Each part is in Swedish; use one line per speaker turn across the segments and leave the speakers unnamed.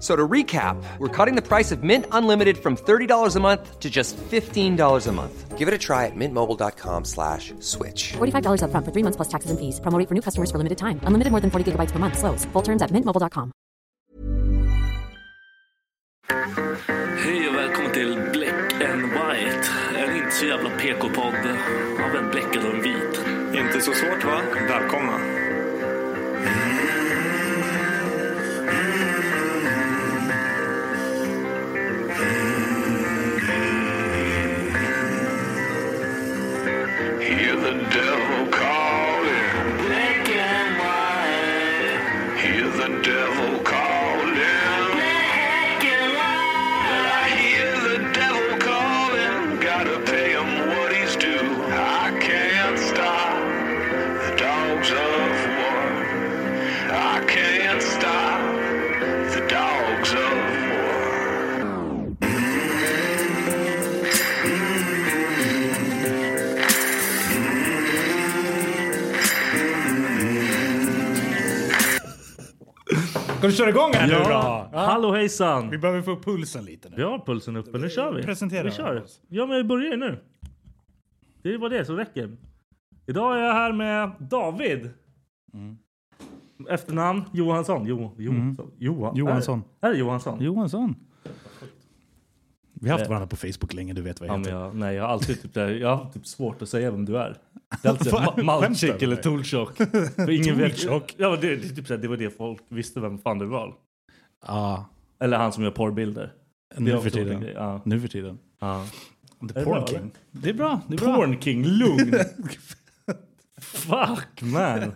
So to recap, we're cutting the price of Mint Unlimited from $30 a month to just $15 a month. Give it a try at mintmobile.com slash switch.
$45 upfront for three months plus taxes and fees. Promo rate for new customers for limited time. Unlimited more than 40 gigabytes per month. Slows. Full terms at mintmobile.com.
Hej och välkommen till Black and White. En inte så jävla PK-podd av en bläckad och en vit.
Inte så svårt va? Välkomna.
Hear the devil calling. Black and white. Hear the devil calling. Black and white. I hear the devil calling. Gotta pay him what he's due. I can't stop the dogs of war. I can't stop the dogs of war.
Ska du köra igång här nu
Ja,
då?
hallå
Vi
hejsan!
behöver få upp pulsen lite nu.
Vi har pulsen uppe, nu kör vi.
Presentera
vi kör.
oss.
Ja, men vi börjar ju nu. Det var det som räcker. Idag är jag här med David.
Mm.
Efternamn Johansson. Jo, Johansson. Johan,
Johansson.
Är, det- är det Johansson? Eh.
Johansson. Vi har haft varandra på Facebook länge, du vet vad
Ja,
jag
men
heter.
jag, nej, jag har alltid typ, där, jag har typ svårt att säga vem du är. Det är alltid
Fan,
Ma- Malchik
skämtar
eller
du?
Tolchok. För ingen vet-
Tolchok.
Ja, men det, det, är typ, såhär, det var det folk visste vem fan du var.
Ja,
Eller han som gör porrbilder. Det är
nu för
också en
tiden.
grej, ja.
Nu för tiden.
Ja.
The
det bra,
Porn King. Det är bra. Det är bra.
Porn King, lugn! Fuck man!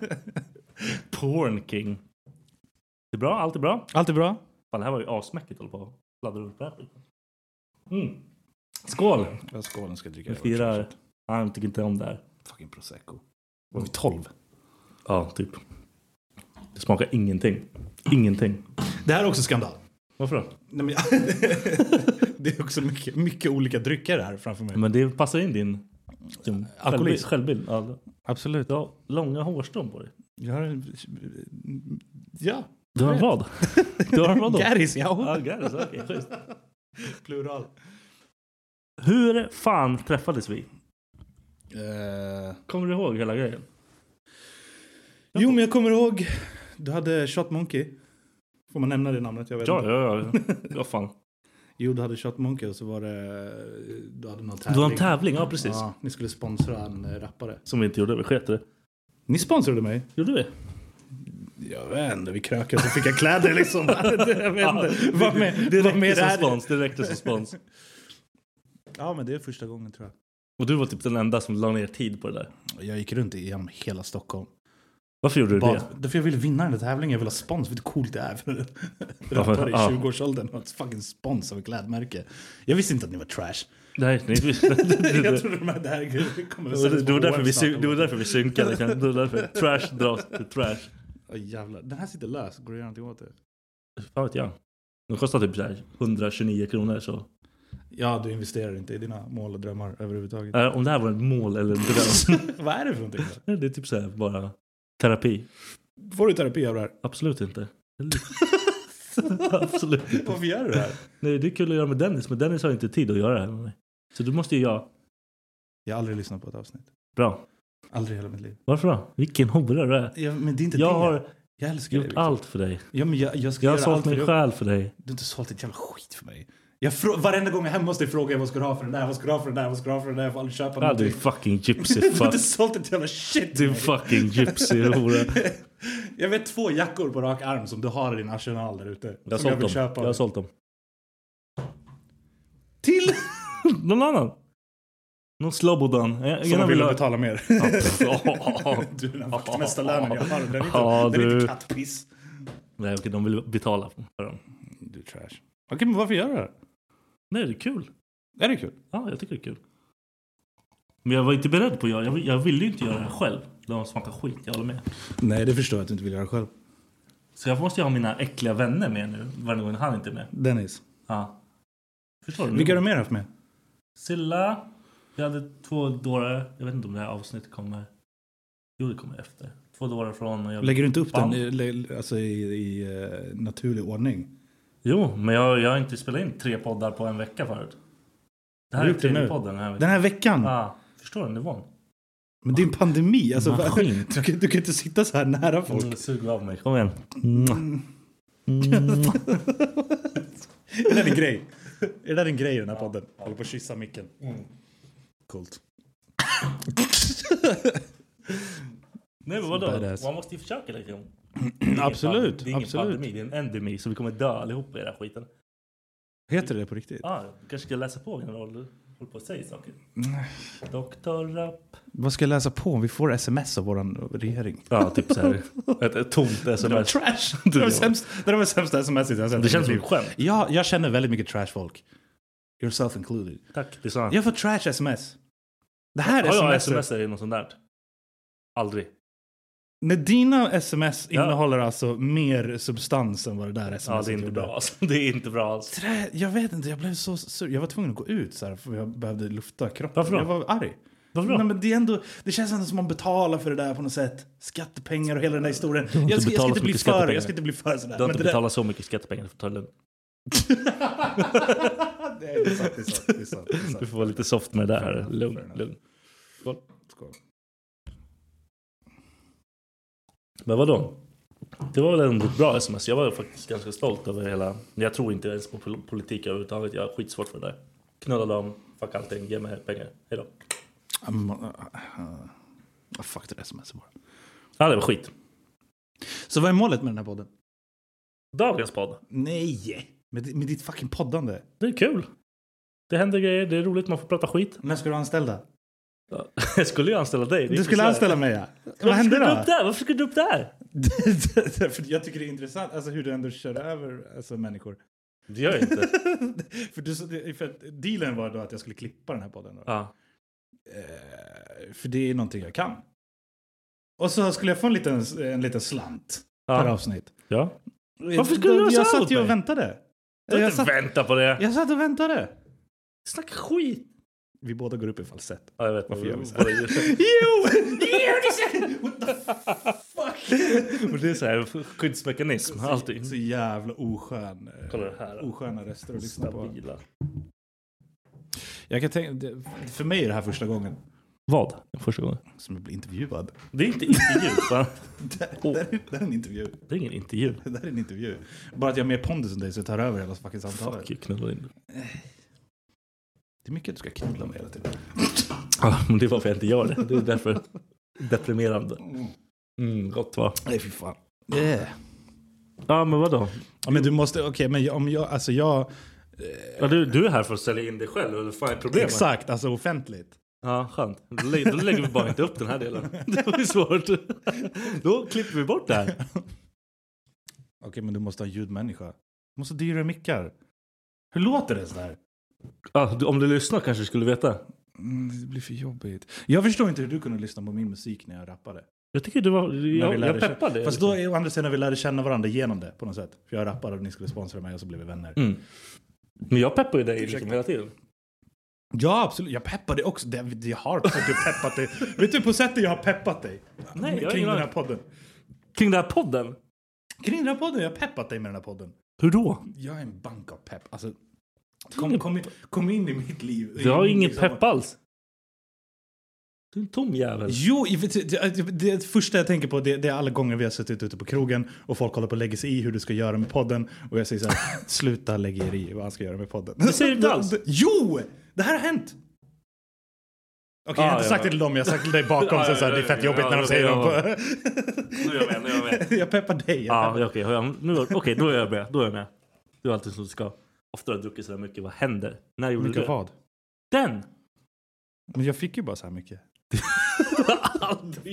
Porn King. Det är bra, allt är bra.
Allt är bra.
Fan, det här var ju asmäckigt att hålla på och sladdra runt på det här skiten. Mm. Skål!
Jag skålen ska jag dricka.
Vi
över.
firar. Ja, jag tycker inte om det här.
Fucking prosecco. Var vi tolv?
Ja, typ. Det smakar ingenting. Ingenting.
Det här är också skandal.
Varför då?
Nej, men, det är också mycket, mycket olika drycker här framför mig.
Men det passar in din... din
Alkoholism.
Självbild. självbild. Ja,
Absolut.
du har långa hårstrån på dig.
Jag har en... Ja.
Du har en vad? Du har en vad då?
Garris,
Ja,
ja.
Garris. okej, schysst.
Plural.
Hur fan träffades vi?
Eh,
Kommer du ihåg hela grejen?
Jo, men jag kommer ihåg. Du hade Shot Monkey. Får man nämna det namnet? Jag vet
Ja,
inte.
ja, ja. ja fan.
Jo, du hade Shot Monkey och så var det... Du hade någon tävling.
Det var en tävling, ja precis.
Ja, ni skulle sponsra en eh, rappare.
Som vi inte gjorde, vi sket i det.
Ni sponsrade mig.
Gjorde vi?
Jag vet inte, vi krökade så fick jag kläder liksom. jag vet inte. Vad med,
Det
vad
räckte
med det
som
här?
spons, det räckte som spons.
Ja, men det är första gången tror jag.
Och du var typ den enda som la ner tid på det där.
Jag gick runt genom hela Stockholm.
Varför gjorde du
Bara,
det?
Därför jag ville vinna den här tävlingen. Jag ville ha spons. Vet du hur coolt det är för en
för-
rappare i
ja.
20-årsåldern? att ha ett fucking spons av ett klädmärke. Jag visste inte att ni var trash.
Nej, nej, visst. Det-
jag trodde de här, det här kommer att
Det var,
säljas
det,
på
var därför vi,
H&M snart
syn- det var
eller något.
därför vi synkade. kan- Det var därför trash dras till trash.
Åh, jävlar. Den här sitter lös. Går det att göra någonting åt det?
Fan vet jag. De kostar typ så här 129 kronor så.
Ja, du investerar inte i dina mål och drömmar överhuvudtaget.
Eh, om det här var ett mål eller en dröm.
Vad är det för någonting? då?
det är typ så här bara terapi.
Får du terapi av det här?
Absolut inte. Absolut inte.
Varför gör du det här?
Nej, det är kul att göra med Dennis, men Dennis har inte tid att göra det här med mig. Så då måste ju jag.
Jag har aldrig lyssnat på ett avsnitt.
Bra.
Aldrig i hela mitt liv.
Varför då? Vilken hora du är.
Ja, men det är inte
Jag
det.
har
jag älskar
gjort
dig, Victor.
allt för dig.
Ja, men jag, jag ska
Jag har
göra
sålt
allt för
min
dig.
själ för dig.
Du har inte sålt ett jävla skit för mig. Jag frå- varenda gång jag är hemma hos dig frågar jag vad ska du ha för den där, vad ska du ha för den där, vad ska du ha för den där, jag får aldrig köpa
Ja, du
någonting.
fucking gypsy
Du har
fuck.
inte sålt ett jävla shit till
Du
mig.
fucking gypsy hora.
Jag vet två jackor på rak arm som du har i din arsenal där ute.
Jag har
som jag
sålt
vill
dem.
köpa.
Jag har sålt dem.
Till!
Någon annan? Någon Slobodan? Jag,
Som
jag
de vill
ha-
betala mer.
Ja.
du, den här fucking mesta lönen jag har. Den är inte,
Ja,
den är inte
du.
kattpiss.
Nej, okej, de vill betala för dem.
Du är trash. Okej, men varför gör du det här?
Nej, det är kul.
Är det kul?
Ja, jag tycker det är kul. Men jag var inte beredd på att göra Jag, vill- jag ville ju inte göra det här själv. De smakar skit, jag håller med.
Nej, det förstår jag att du inte vill göra själv.
Så jag måste ju ha mina äckliga vänner med nu, varje gång han inte är med.
Dennis.
Ja. Förstår du?
Vilka har du mer haft med?
Silla. Vi hade två dårar. Jag vet inte om det här avsnittet kommer. Jo, det kommer efter. Två dårar från... och jag-
Lägger du inte upp den
Bam.
i, lä- alltså, i, i eh, naturlig ordning?
Jo, men jag, jag har inte spelat in tre poddar på en vecka förut. Det här är
Har du gjort det
tredje
nu?
podden den här veckan.
Den här veckan?
Ja, förstår du nivån?
Men det är en pandemi. Alltså, va-
Maskin.
du, kan, du kan inte sitta så här nära folk.
Mm, Sug av mig, kom igen.
Mm. Är det där din grej? Är det där din grej i den här podden? Håller på att kyssa micken.
Mm.
Coolt.
Nej men vadå?
Badass.
Man måste ju försöka lite grann.
Absolut,
Det är ingen
absolut.
pandemi, det är en endemi så vi kommer dö allihopa i den här skiten.
Heter det på riktigt?
Ah, du kanske ska läsa på innan du håller håller på att säga saker. Doktor Rapp.
Vad ska jag läsa på om vi får sms av vår regering?
Ja, typ såhär. Ett, ett tomt
Det var
sms.
trash! Det var sämst- det var det sämsta sms jag sett.
Det känns som ett skämt.
Ja, jag känner väldigt mycket trash-folk. Yourself included.
Tack, det sa han.
Jag får trash-sms. Det här
Har jag
sms,
sms eller något sånt där? Aldrig.
När dina sms
Ja.
innehåller alltså mer substans än vad det där sms
Ja, det är inte bra alltså. alls. Det är inte bra alls.
Trä, jag vet inte, jag blev så sur. Jag var tvungen att gå ut så här för jag behövde lufta kroppen.
Varför då?
Jag var arg.
Varför då?
Nej, men det, är ändå, det känns ändå som man betalar för det där på något sätt. Skattepengar och hela den där historien. Jag ska, jag, ska
betalat
inte
så
bli
mycket
för,
skattepengar.
jag ska inte bli för sådär.
Du har
Men
inte
det där-
betalat så mycket skattepengar för att ta det lugnt.
Nej, det är sant, det är sant, det är sant, det är sant.
Du får vara lite soft med det här. Lugn, lugn.
Skål.
Men vadå? Det var väl ändå ett bra sms. Jag var faktiskt ganska stolt över hela... Jag tror inte ens på pol- politik överhuvudtaget. Jag har skitsvårt för det där. Knulla dem, fuck allting, ge mig pengar. Hejdå.
Um, uh, uh, uh, fuck det där sms bara.
Ja, det var skit.
Så vad är målet med den här podden?
Dagens podd.
Nej! Med, di- med ditt fucking poddande.
Det är kul. Det händer grejer, det är roligt, man får prata skit.
När ska du anställa?
Ja. Jag skulle ju anställa dig. det är
Du skulle
precis-
anställa mig ja. Vad
Varför
hände
skulle du
då?
upp där? Varför skulle du upp där?
För jag tycker det är intressant alltså, hur du ändå kör över alltså, människor.
Det gör jag inte.
för, du, för att dealen var då att jag skulle klippa den här podden. Då.
Ja.
Eh, För det är någonting jag kan. Och så skulle jag få en liten, en liten slant per
Ja.
avsnitt.
ja.
Varför
skulle du göra
Eh,
så
jag Jag
här
satt
mot
ju och
mig?
väntade.
Du har
Jag
inte
satt,
vänta på det.
jag satt och väntade.
Snacka skit.
Vi båda går upp i falsett.
Ja, jag vet.
Varför gör vi så
här?
Jo! What the fuck?
Men det är så här skyddsmekanism. Alltid.
Så jävla oskön. eh,
Kolla det här.
Osköna röster att lyssna på.
Stabila.
Jag kan tänka, det- för mig är det här första gången
Vad? Första gången.
som jag blir intervjuad.
Det är inte intervju. va?
Det här, är- det här är en intervju.
Det är ingen intervju.
Det här är en intervju. Bara att jag har mer pondus än dig så jag tar över hela fucking samtalet.
Fuck you, knulla in.
Det är mycket du ska knulla med hela tiden.
Ja, men det är varför jag inte gör det. Det är därför deprimerande. Mm, gott va?
Nej fy fan. Yeah.
Ja, men vadå?
Ja, Men du måste, okej men jag- om jag, alltså jag,
Ja, du, du är här för att sälja in dig själv. Eller fan är problemet?
exakt, alltså offentligt.
Ja, skönt. Då lä- då lägger vi bara inte upp den här delen. Det var ju svårt. Då klipper vi bort det här.
Okej men du måste ha en ljudmänniska. Du måste ha dyra mickar. Hur låter det sådär?
Ja, du, om du lyssnar kanske du skulle veta.
Mm, det blir för jobbigt. Jag förstår inte hur du kunde lyssna på min musik när jag rappade.
Jag tycker du var... Jag, jag
lärde
peppade.
känna. Fast då är- å andra sidan vi lärde känna varandra genom det på något sätt. För jag rappade och ni skulle sponsra mig och så blev vi vänner.
Mm. Men jag peppar ju dig liksom hela tiden.
Ja absolut, jag peppade också. Det, jag har säkert peppat dig. Vet du på sättet jag har peppat dig?
Nej, jag har
Kring
ingen
den här
aning.
podden.
Kring den här podden?
Kring den här podden, jag har peppat dig med den här podden.
Hur då?
Jag är en bank av pepp. Alltså, kom, kom, in- kom in i mitt liv.
Du har ju
In i
ingen
liksom-
pepp alls. Du är en tom jävel.
Jo, i- det, det, det första jag tänker på det, det är alla gånger vi har suttit ute på krogen och folk håller på att lägga sig i hur du ska göra med podden. Och jag säger så här, sluta lägga er i vad han ska göra med podden. Det
säger du inte alls.
Jo! Det här har hänt! Okej, jag
Ah,
har inte
ja.
sagt det till dem, jag har sagt det till dig bakom.
Ja,
så så här,
ja,
det är fett
ja,
jobbigt
ja,
när de
det-
säger
ja.
det.
Nu är jag med, nu är jag med.
Jag peppar dig. jag
Ja,
peppar-
ja, okej, har jag- nu- okej, då är jag med. Då är jag med. Du är alltid som du ska. Ofta har jag druckit sådär mycket. Vad händer? När gjorde du
Mycket
det?
vad?
Den!
Men jag fick ju bara så här mycket.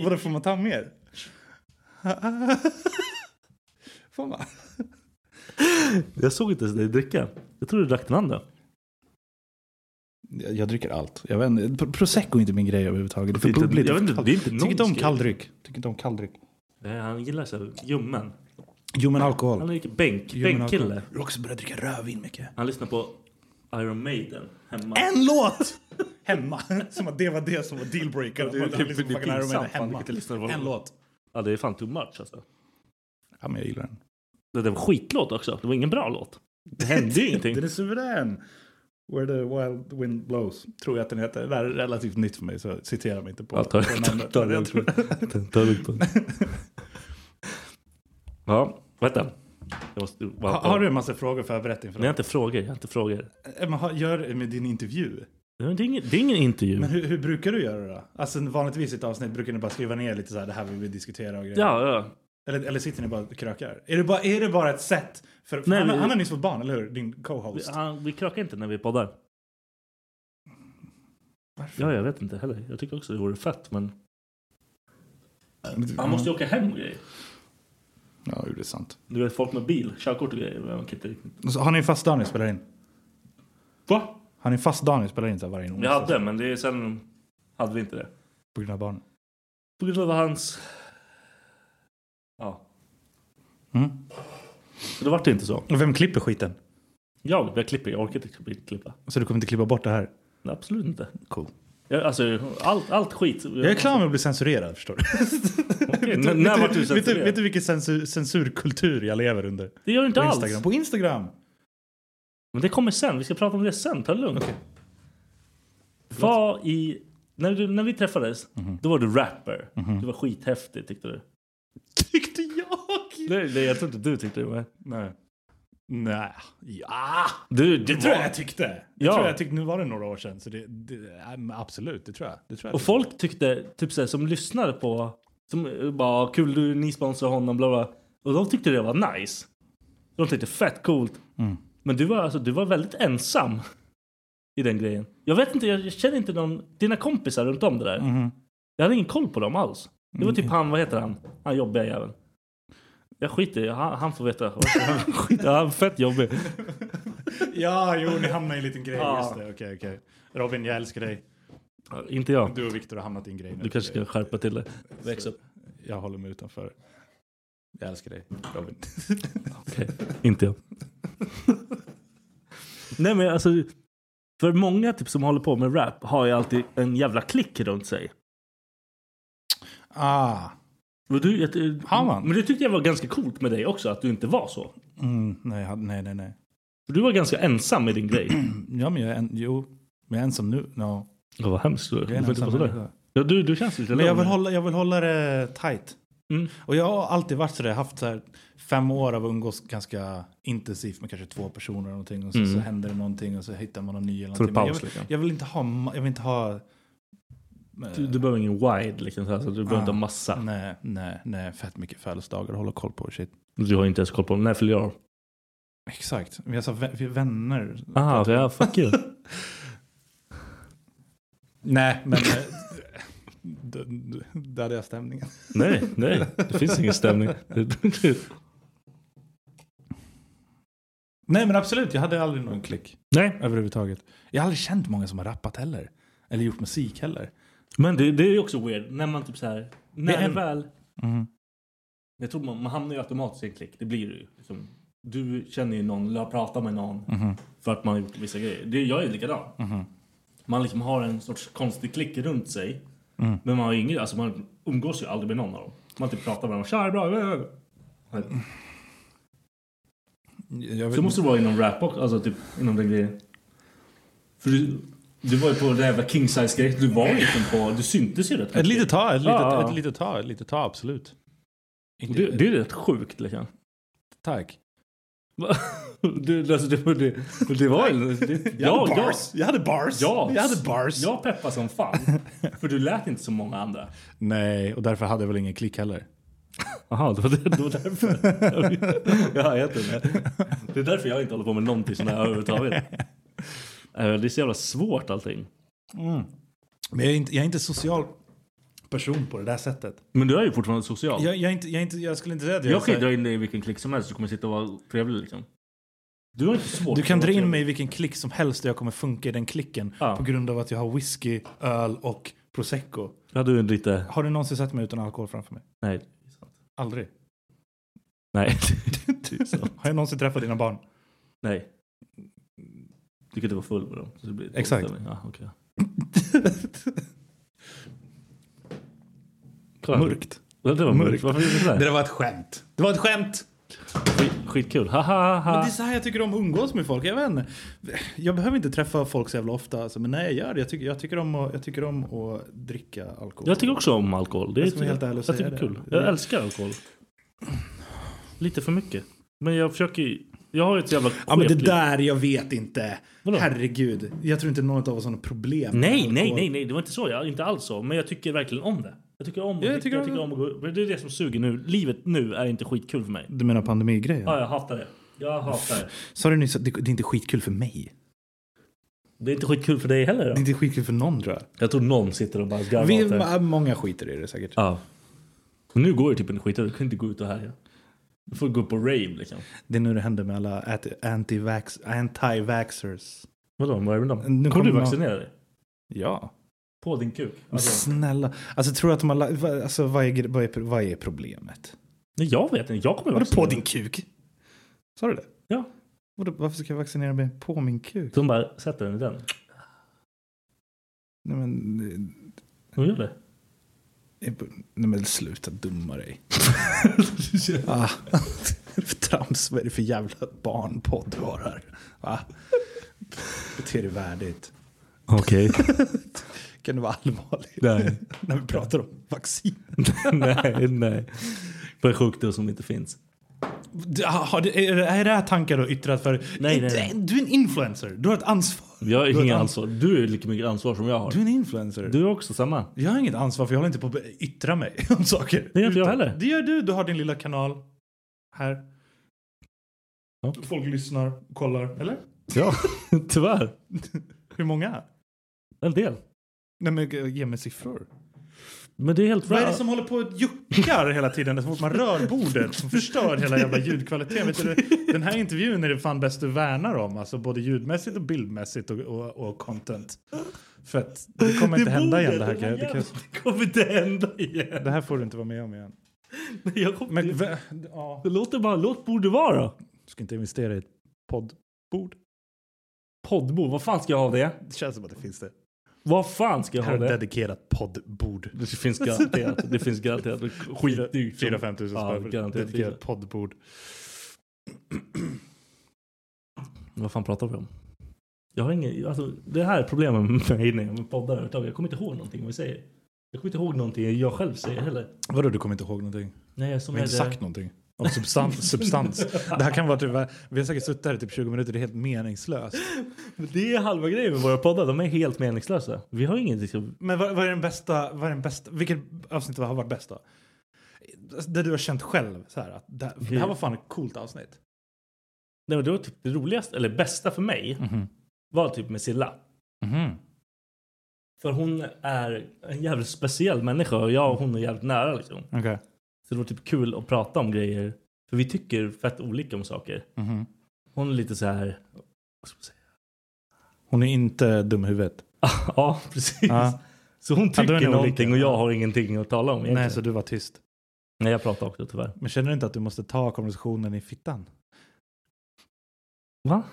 Vadå, får man ta mer? får man?
Jag såg inte ens dig dricka. Jag tror du drack den andra.
Jag, jag dricker allt. Jag vet, inte. Pro- Prosecco är inte min grej överhuvudtaget. Det är
Det
för
är inte-
bubbligt.
jag vet
för
inte,
kallt.
det är inte
Tycker inte om
någons grej.
kalldryck. Tycker inte om kalldryck.
Nej, Han gillar så här ljummen.
Jo, men
Han
alkohol.
är riktigt bänk,
Jo, men
bänkkille.
alkohol. Jag har också börjat dricka rödvin mycket.
Han lyssnar på Iron Maiden hemma.
En låt! Hemma. Som att det var det som var dealbreaker.
Ja, det är
Att man
typ-
liksom
det är
fucking Iron Maiden
pinsamt, fan,
hemma.
vilket lyssnare var det?
En låt.
Ja, det är fan too much alltså.
Ja, men jag gillar den.
Det det var en skitlåt också. Det var ingen bra låt. Det hände ju ingenting.
Den är suverän. Where the wild wind blows. Tror jag att den heter. Det här är relativt nytt för mig så citera mig inte på,
Ja, ta,
på
ta,
namnet.
ta,
Men jag tror-
ta, ta lugnt på det. Ja, vänta. Jag måste, vad-
Ha, har du en massa frågor förberett inför
Nej, jag har inte frågor. Jag har inte frågor.
det? Eh, Men ha- Gör det med din intervju.
Det är ingen, det är ingen intervju.
Men hur, hur brukar du göra då? Alltså vanligtvis i ett avsnitt brukar ni bara skriva ner lite så här, det här vill vi diskutera och grejer.
Ja, ja.
Eller, eller sitter ni bara och krökar? Är det bara, är det bara ett sätt? För, för
Nej,
han,
vi-
han har nyss fått barn, eller hur? Din
Vi,
co-host.
han, vi krökar inte när vi poddar.
Varför?
Ja, jag vet inte heller. Jag tycker också det vore fett, men... Han måste ju åka hem och grejer.
Ja, jo, det är sant.
Du vet, folk med bil, körkort och grejer. Man kan inte riktigt...
Och Så, har ni en fast dag ni spelar in?
Va?
Har ni en fast dag ni spelar in så här varje
Vi
onsdag?
hade, men det är sen hade vi inte det.
På grund av barn.
På grund av hans... Ja.
Mm.
Så det vart inte så.
Och vem klipper skiten?
Jag, jag klipper. Jag orkar inte klippa.
Så du kommer inte klippa bort det här?
Nej, absolut inte.
Cool.
Jag, alltså, allt, allt skit.
Jag är klar med att bli censurerad, förstår du?
Okej,
Vet
när- när vart du
vet vet,
censurerad?
vet du vilken censur, censurkultur jag lever under?
Det gör du inte
På
alls.
Instagram. På Instagram!
Men det kommer sen. Vi ska prata om det sen. Ta det lugnt. Var i... När, du, när vi träffades, då var du rapper. Du var skithäftig, tyckte du.
Tyckte jag!
Nej, nej, jag tror inte du tyckte det. Men...
Nej. Nej. Ja!
Du,
Det tror jag jag tyckte. Det
Ja.
tror jag jag tyckte. Nu var det några år sedan. Så det, det, ja, men absolut, det tror jag. Det tror jag
Och folk tyckte, typ såhär, som lyssnade på, som eh, bara kul du, ni sponsrar honom, bla bla. Och de tyckte det var nice. De tyckte fett coolt. Men du var, alltså, du var väldigt ensam i den grejen. Jag vet inte, jag känner inte någon, dina kompisar runt om det där. Jag hade ingen koll på dem alls. Det var typ han, vad heter han? Han jobbiga jäveln. Jag skiter i- han, han får veta. Han skiter, han är fett jobbig.
Ja, jo, ni hamnar i en liten grej.
Ja.
Just det, okej, okej. Robin, jag älskar dig.
Inte jag.
Du och Viktor har hamnat i en grej nu.
Du kanske ska skärpa till det. Väx upp.
Jag håller mig utanför. Jag älskar dig, Robin.
Okej, inte jag. Nej men alltså, för många typ som håller på med rap har ju alltid en jävla klick runt sig.
ah.
Men du, jag,
Har man?
Men det tyckte jag var ganska coolt med dig också, att du inte var så.
Mm, nej, jag hade- nej, nej, nej.
För du var ganska ensam med din grej.
Ja, men jag är en, jo. Men jag är ensam nu. No.
Ja, vad hemskt. Du,
Jag är
du,
en
får inte
ensam
vara sådär.
människa.
ja, du, du känns lite
Men jag
lugn.
vill, hålla, jag vill hålla det tight.
Mm.
Och jag har alltid varit sådär, haft så här fem år av att umgås ganska intensivt med kanske två personer eller någonting. Och så,
Mm.
så händer det någonting och så hittar man någon ny eller
Tar du
någonting. Men jag,
paus,
vill,
liksom?
jag vill inte ha, ma- jag vill inte ha... eh,
Du, du behöver ingen wide liksom, så här, så du behöver inte ha massa.
Ah. Nej, nej, nej. Fett mycket födelsedagar att hålla koll på och shit.
Du har inte ens koll på dem. När fyller jag?
Exakt. Men jag sa vä- vi är vänner.
Ah, okay, yeah, fuck you.
Nej, men... eh, d- d- Där hade jag stämningen.
nej, nej. Det finns ingen stämning.
Nej, men absolut. Jag hade aldrig någon klick
nej,
överhuvudtaget. Jag har aldrig känt många som har rappat heller. Eller gjort musik heller.
Men det, det är ju också weird. När man typ så här, När det
en-
väl...
Mhm.
Jag tror man, man hamnar ju automatiskt i en klick. Det blir det ju. Liksom, du känner ju någon, eller har pratat med någon för att man har gjort vissa grejer. Det, jag är likadan. Man liksom har en sorts konstig klick runt sig. Men man har ju ingen, alltså man umgås ju aldrig med någon av dem. Man typ pratar med dem. Tja, det är bra. eh, eh."
Jag
Så
vet,
måste det vara inom rap också, alltså typ inom den grejen. För du, du var ju på det jävla king size grejen Du var ju liksom på, du syntes ju rätt
ett litet tag, ett litet,
Ja.
ett litet tag, ett litet tag, absolut. Inte,
Det, det är ju rätt sjukt liksom.
Tack.
Du, alltså, det, det, det var ju... Det,
Jag
ja,
hade
jag,
bars. Jag hade bars.
Ja.
Jag hade bars.
jag peppar som fan. För du lät inte som många andra.
Nej, och därför hade jag väl ingen klick heller.
Jaha, det var, det, det var därför. ja, jag vet inte. Det är därför jag inte håller på med någonting sånt här överhuvudtaget. Eh, Det är så jävla svårt allting.
Mm.
Men jag är inte, jag är inte social person på det där sättet.
Men du är ju fortfarande social.
Jag, jag, är inte, jag, är inte, jag skulle inte säga att jag,
Jag kan
är så
ju
här-
dra in dig i vilken klick som helst, du kommer sitta och vara trevlig liksom. Du har inte svårt
Du kan
att
dra
vara
in
trevlig.
mig i vilken klick som helst och jag kommer funka i den klicken.
Ja.
På grund av att jag har whisky, öl och prosecco.
Ja, du är lite...
Har du någonsin sett mig utan alkohol framför mig?
Nej. det är sant.
Aldrig.
Nej. det är sant.
Har jag någonsin träffat dina barn?
Nej. Du kan inte vara full med dem. så det blir dålig
Exakt.
stämning. Ja, okej. Kolla. Ja, Det var mörkt.
Mörkt.
Varför gjorde du sådär?
där var ett skämt.
Det var ett skämt!
Skit- Skitkul. Ha, ha,
Men
ha.
det är så här jag tycker om att umgås med folk. Jag, vet inte. jag behöver inte träffa folk så jävla ofta. Alltså, men när jag gör det, jag tycker, jag, tycker om att, jag tycker om att dricka alkohol.
Jag tycker också om alkohol. Det är
Jag ska vara helt ärlig och
jag
säga
tycker det. är
det.
kul. Jag älskar alkohol. Lite för mycket. Men jag försöker ju- Jag har ju ett jävla
Ja men det
skevt liv.
där, jag vet inte.
Vadå?
Herregud. Jag tror inte någon av oss har något problem. med
Nej,
alkohol.
nej, nej, nej, det var inte så. Jag, inte alls så. Men jag tycker verkligen om det. Jag tycker om,
jag
jag tycker
tycker
jag tycker om att gå ut. Men Det är det som suger nu. Livet nu är inte skitkul för mig.
Du menar pandemigrejen?
Ja, jag hatar det. Jag hatar det.
Sa du nyss att det, det är inte skitkul för mig?
Det är inte skitkul för dig heller.
Det är
Då.
inte skitkul för någon tror jag.
Jag tror någon sitter och bara garvar
Vi,
åt det.
ma- många skiter i det säkert.
Ja. Men nu går det typ en skit. Du kan inte gå ut och härja. Du får gå på rave liksom.
Det är nu det händer med alla anti- anti-vax- anti-vaxxers.
Vadå, vad är det med dem?
Nu
Kommer du
kommer
vaccinera dig?
Ja.
På din kuk?
Men
Alltså,
snälla. Alltså tror du att de har... la- va- Alltså vad är, gre- vad är, vad är problemet?
nej, jag vet inte. Jag kommer
Vadå
vaccinera
på
mig.
din kuk? Sa du det?
Ja.
Vadå, varför ska jag vaccinera mig på min kuk?
De bara sätter den i den.
Nej men... eh,
De gör det.
Nej men sluta dumma dig. ah, för trams, vad är det för jävla barnpodd du har här? Va? Bete dig värdigt.
Okej.
Kan du vara allvarlig?
Nej.
När vi pratar om vaccin.
nej, nej. På en sjukdom som inte finns.
Du, ah, har du, är, det- är det här tankar du har yttrat för?
Nej, nej, nej.
Du är en influencer. Du har ett ansvar.
Jag
Du har
har
ett
inget
ans-
ansvar. Du är lika mycket ansvar som jag har.
Du är en influencer.
Du är också samma.
Jag har inget ansvar för jag håller inte på att be- yttra mig om saker.
Det gör inte jag
Utan-
heller.
Det gör du. Du har din lilla kanal här.
Ja.
Folk lyssnar, kollar. Eller?
Ja. Tyvärr.
Hur många?
En del.
Nej men ge- ge mig siffror.
Men det är helt
Vad är
bra.
det som håller på och juckar hela tiden så fort man rör bordet? Som förstör hela jävla ljudkvaliteten. Vet du, det- den här intervjun är det fan bäst du värnar om. Alltså både ljudmässigt och bildmässigt och, och, och content. För att det kommer inte hända igen det här. kan jag- Det, kan, jag-
Det kommer inte hända igen.
det här får du inte vara med om igen.
Nej, Jag kommer...
Men vä- ja.
Låt det bara, låt bordet vara då.
Du ska inte investera i ett poddbord.
Poddbord, vad fan ska jag ha det?
Det känns som att det finns det.
Vad fan ska jag
Här
ha
har
det?
dedikerat poddbord.
Det finns garanterat. Det finns garanterat. Skitdyrt.
4-5 tusen
Ja,
spänn för ett dedikerat
garanterat.
poddbord.
Vad fan pratar vi om? Jag har ingen, alltså, det här är problemet med mig när jag med poddar överhuvudtaget. Jag kommer inte ihåg någonting vad vi säger. Jag kommer inte ihåg någonting jag själv säger heller.
Vadå, du kommer inte ihåg någonting?
Nej, som
Vi har inte
är det-
sagt någonting. Om substans. substans. Det här kan vara typ, vi har säkert suttit här i typ 20 minuter, det är helt meningslöst.
Men Det är halva grejen med våra poddar. De är helt meningslösa. Vi har inget liksom...
Men vad, vad är den bästa, vad är den bästa, vilket avsnitt har varit bäst då? Alltså, Det du har känt själv, så här, att det, här- det här var fan ett coolt avsnitt.
Nej, men det var typ det roligaste, eller bästa för mig,
Mhm.
var typ med Silla. För hon är en jävligt speciell människa och jag och hon är jävligt nära liksom.
Okej.
Så det var typ kul att prata om grejer. För vi tycker fett olika om saker.
Mhm.
Hon är lite så här... Vad ska man säga?
Hon är inte dum i huvudet.
Ja, precis.
Ja.
Så hon
Ja, då är
tycker
ni
någonting
olika.
och jag har ingenting att tala om egentligen.
Nej, så du var tyst.
Nej, jag pratar också tyvärr.
Men känner du inte att du måste ta konversationen i fittan?
Va?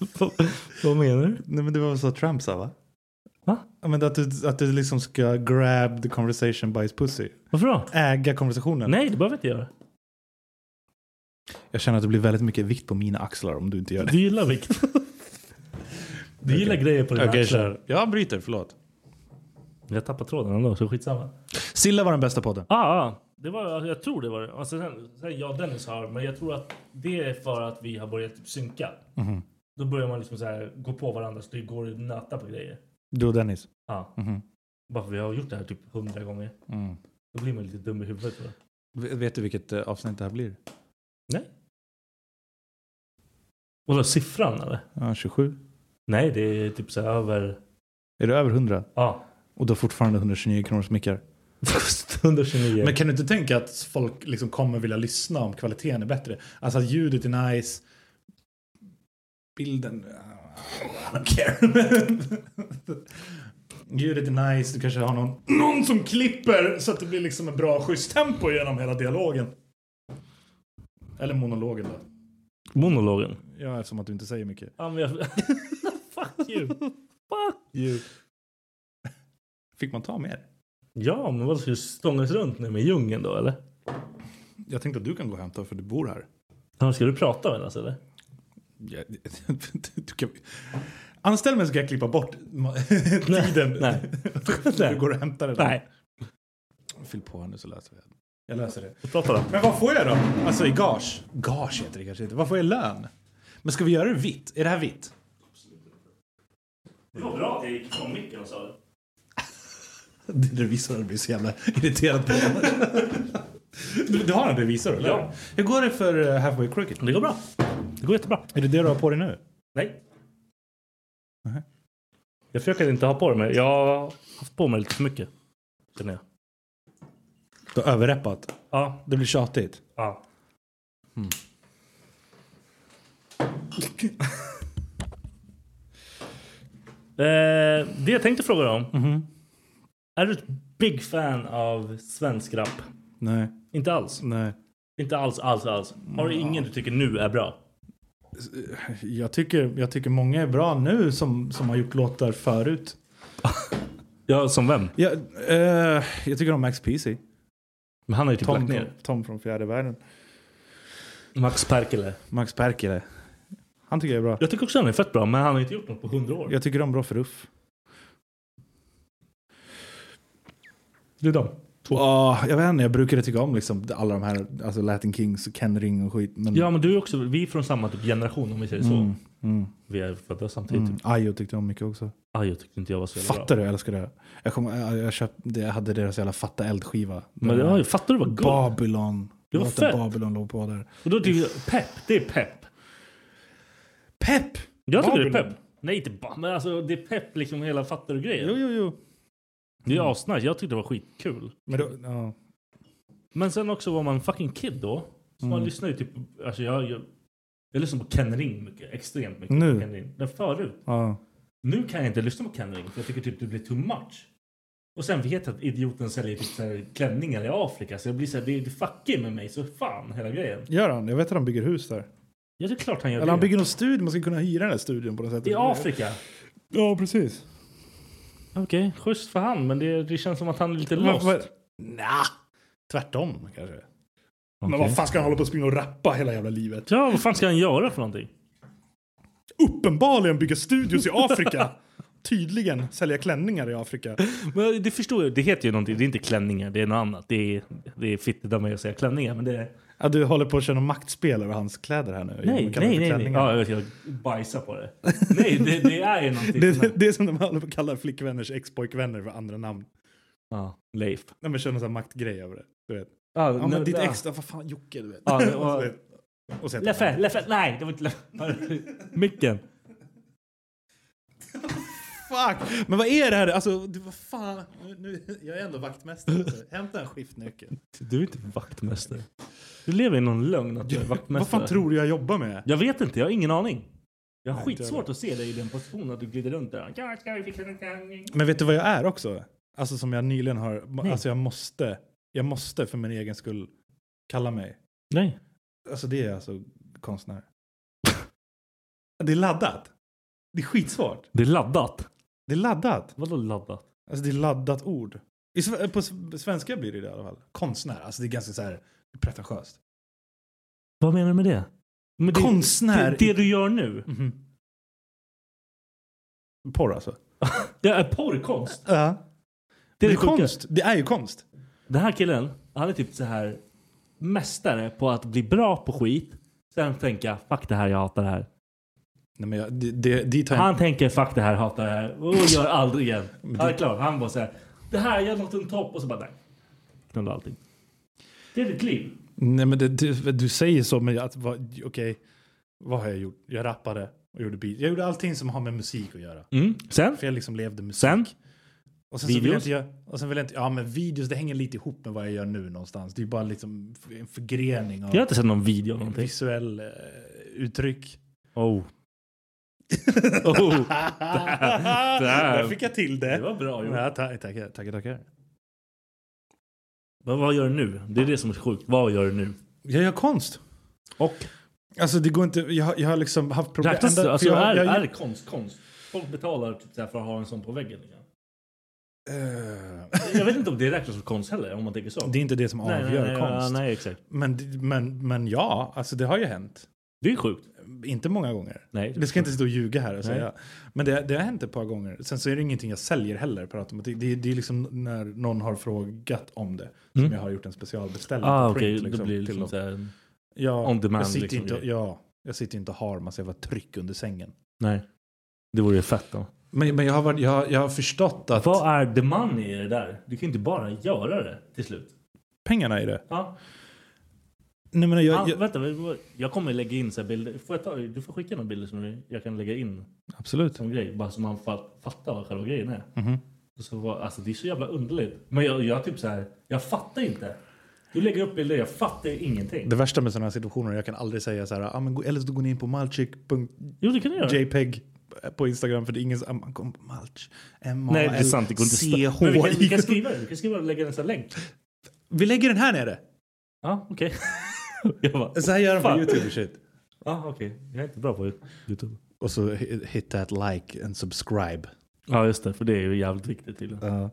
vad, vad menar du?
Nej, men det var väl så Trump sa, va?
Va?
Ja, men att du, att du liksom ska grab the conversation by his pussy.
Varför då?
Äga konversationen.
Nej, det behöver jag inte göra.
Jag känner att det blir väldigt mycket vikt på mina axlar om du inte gör det.
Du gillar vikt. Du gillar grejer på dina
Okej,
axlar.
kör. Jag bryter, förlåt.
Jag tappar tråden ändå, så skitsamma.
Silla var den bästa podden.
Ah, ah. Det var, jag tror det var det. Alltså sen, sen jag och Dennis har, men jag tror att det är för att vi har börjat typ synka.
Mhm.
Då börjar man liksom så här, gå på varandra så det går att nöta på grejer.
Du och Dennis.
Ah.
Mhm.
Bara för vi har gjort det här typ hundra gånger.
Mm.
Då blir man lite dum i huvudet. va?
V- Vet du vilket eh, avsnitt det här blir?
Och då siffran eller?
Ja, 27.
Nej, det är typ så här över...
Är du över 100?
Ja.
Och du har fortfarande 129 kronors mickar.
129.
Men kan du inte tänka att folk liksom kommer vilja lyssna om kvaliteten är bättre? Alltså att ljudet är nice. Bilden... I don't care. ljudet är nice, du kanske har någon, någon som klipper så att det blir liksom en bra schysst tempo genom hela dialogen. Eller monologen då.
Monologen.
Ja, eftersom att du inte säger mycket.
Ja, men jag... Fuck you. Fuck you.
Fick man ta mer?
Ja, men vad ska vi stångas runt nu med djungeln då eller?
Jag tänkte att du kan gå och hämta för du bor här.
Ja, Ska du prata med oss eller?
Ja, du kan... Anställ mig så kan jag klippa bort ma- tiden.
nej.
Du går och hämtar det där.
Nej.
Fyll på här nu så löser vi det. Jag löser det.
Prata då.
Men vad får jag då? Alltså i gage? Gage heter det kanske inte. Vad får jag i lön? Men ska vi göra det vitt? Är det här vitt?
Det var bra att jag gick ifrån micken och sa det.
Din revisor blir så jävla irriterad på du, du har en revisor eller?
Ja.
Hur går det för eh, Halfway Crooked?
Det går bra. Det går jättebra.
Är det det du har på dig nu?
Nej.
Mhm.
Jag försöker inte ha på mig. Jag har haft på mig lite för mycket. Känner jag.
Du har överreppat.
Ja.
Det blir tjatigt.
ja. Hmm. Eh, det jag tänkte fråga dig om. Är du ett big fan av svensk rap?
Nej.
Inte alls.
Nej.
Inte alls, alls, alls. Har du ingen du tycker nu är bra?
Jag tycker, jag tycker många är bra nu som, som har gjort låtar förut.
Ja, som vem?
Jag, eh, jag tycker om Max Peasy.
Men han har ju typ
Tom,
lagt
från,
ner.
Tom från fjärde världen.
Max Perkele.
Max Perkele. Han tycker jag är bra.
Jag tycker också han är fett bra, men han har inte gjort något på hundra år.
Jag tycker om Bra Ruff. Du då? Ja, jag vet inte. Jag brukade tycka om liksom alla de här, alltså Latin Kings och Ken Ring och skit. Men
Ja, men du är också, vi är från samma typ generation om vi säger så.
mm,
Vi är födda samtidigt.
mm.
Typ.
Ayo tyckte jag om mycket också.
Ah, jag tyckte inte jag var så jävla
Fattar
bra.
du? Jag älskar det. här. Jag, kom, jag, jag, köpte, jag hade deras jävla Fatta Eld-skiva.
Men det, ja, fattar du vad gott?
Babylon.
Det var
Låten
fett.
Babylon låg på där.
Och då tycker jag, pepp, det är pepp.
Pepp!
Jag tycker det är
Babylon.
pepp. Nej, inte bara, men alltså det är pepp liksom hela fattar du grejen.
Jo, jo, jo.
Det är asnice, jag tyckte det var skitkul.
Men då, ja.
Men sen också var man fucking kid då. Så man lyssnar ju typ, alltså jag, jag, jag lyssnar på Ken Ring mycket, extremt mycket.
Nu?
på Ken Ring. Men förut.
ja.
Nu kan jag inte lyssna på Ken Ring för jag tycker typ det blir too much. Och sen vet jag att idioten säljer typ så här klänningar i Afrika så jag blir så här, det är fucking med mig så fan hela grejen.
Gör han? Jag vet att han bygger hus där.
Ja det är klart han gör
Eller han
det.
bygger någon studio. Man ska kunna hyra den här studion på något sätt.
I Afrika.
Ja, precis.
Okej, schysst för han men det, det känns som att han är lite
Men
lost.
vad- Nja, tvärtom kanske. Men
Okej.
vad fan ska han hålla på och springa och rappa hela jävla livet?
Ja vad fan ska han göra för någonting?
Uppenbarligen bygga studios i Afrika. Tydligen sälja klänningar i Afrika.
Men det förstår jag, det heter ju någonting. Det är inte klänningar, det är något annat. Det är, det är fittigt av mig att säga klänningar men det är...
Ja, du håller på att köra något maktspel över hans kläder här nu.
Nej,
Man kallar det
nej,
för
nej. nej.
klänningar.
Ja, jag vet, jag bajsar på det. nej, det, det är ju någonting.
Det,
som är-
det, det är som när man håller på och kallar flickvänners ex-pojkvänner för andra namn.
Ja, Leif.
När man kör någon sån här maktgrej över det. Du vet.
Ja,
Ja, men ditt
ja.
ex, ja, vad fan Jocke, du vet.
Ja, men-
och, så vet- och så heter
Leffe,
han-
Leffe, nej det var inte Leffe. Micken.
Fuck! Men vad är det här? Alltså, du, vad fan? Nu, nu, jag är ändå vaktmästare. Alltså. Hämta en skiftnyckel.
Du är inte vaktmästare. Du lever i någon lögn att du är vaktmästare.
Vad fan tror du jag jobbar med?
Jag vet inte, jag har ingen aning. Jag har skitsvårt att se dig i den positionen att du glider runt där. Ja, ska vi fixa det?
Men vet du vad jag är också? Alltså som jag nyligen har, alltså jag måste, jag måste för min egen skull kalla mig.
Nej.
Alltså det är alltså konstnär. Det är laddat. Det är skitsvårt.
Det är laddat.
Det är laddat.
Vadå laddat?
Alltså det är laddat ord. I, sve- eh, på s- svenska blir det det i alla fall. Konstnär, alltså det är ganska så här pretentiöst.
Vad menar du med det? Men det
Konstnär.
Det, det du gör nu?
Mhm. Porr alltså.
Det är eh, porrkonst.
Ja.
Det
Det
är
är
det sjuka.
konst. Det är ju konst.
Den här killen, han är typ så här mästare på att bli bra på skit. Sen tänka, fuck det här, jag hatar det här.
Nej, men jag, det, det, dit har jag-
Han tänker, fuck det här, hatar det här. Och gör aldrig igen. Han är klar. Han bara så här, det här, jag har nått en topp. Och så bara, nej. Knullar allting. Det är ditt liv.
Nej men det, du, du säger så men att, vad- okej, vad har jag gjort? Jag rappade och gjorde beat. Jag gjorde allting som har med musik att göra.
Mm. Sen?
För jag liksom levde musik.
Sen?
och sen så vill jag
videos?
inte göra, och sen vill jag inte, ja men videos det hänger lite ihop med vad jag gör nu någonstans. Det är ju bara liksom en förgrening
Jag har
av
inte sett någon video eller någonting.
visuell eh, uttryck.
Oh. oh. där-
Ah. Där fick jag till det.
Det var bra gjort.
Ja, ta- tackar, tackar, tackar.
Men vad gör du nu? Det är det som är sjukt. Vad gör du nu?
Jag gör konst.
Och?
Alltså det går inte, jag, har- jag har liksom haft problem.
Räknas
ända-
det?
för
Alltså,
jag-
är,
jag-
är konst konst? Folk betalar typ så här för att ha en sån på väggen. liksom.
Eh,
Jag vet inte om det räknas som konst heller, om man tänker så.
Det är inte det som
nej,
avgör
nej,
konst.
Nej, nej, exakt.
Men, men, men ja, alltså det har ju hänt.
Det är sjukt.
Inte många gånger.
Nej.
Det ska inte stå och ljuga här och
Nej.
säga. Men det, det har hänt ett par gånger. Sen så är det ingenting jag säljer heller per automatik. Det, är- det är liksom när någon har frågat om det. Som
Mm.
jag har gjort en specialbeställning
Ah,
på print,
okej. Då blir det
till
liksom
dem.
så här...
ja,
on demand,
Jag sitter
liksom,
inte,
grej.
ja, jag sitter inte och har massa jävla tryck under sängen.
Nej. Det vore ju fett då.
Men, men jag, har varit, jag, har- jag har förstått att
Vad är the money i det där? Du kan ju inte bara göra det till slut.
pengarna är det.
Ja.
Nej, men jag,
ah,
jag,
Vänta, jag kommer lägga in så här bilder. Får jag ta, du får skicka några bilder som jag kan lägga in
absolut.
som grej. Bara så man fa- fattar vad själva grejen är.
Mhm.
Och så var, alltså, det är så jävla underligt. Men jag, jag typ så här, jag fattar inte. Du lägger upp bilder, jag fattar ingenting.
Det värsta med sådana här situationer är att jag kan aldrig säga så här, ah, men, gå- eller så går ni in på malchick.se
Jo, det kan du göra.
JPEG på Instagram för det är ingen som... Man kommer på Malch.
Nej, det är sant. Det går inte att sta- Men vi, kan, vi kan skriva det. Vi kan skriva och lägga en sån här länk.
Vi lägger den här nere.
Ja, okej. jag bara,
Så här gör de på
Fan.
YouTube och shit.
ja okej. Jag är inte bra på Youtube.
Och så hit hit that like and subscribe.
Ja, just det. För det är ju jävligt viktigt tydligen.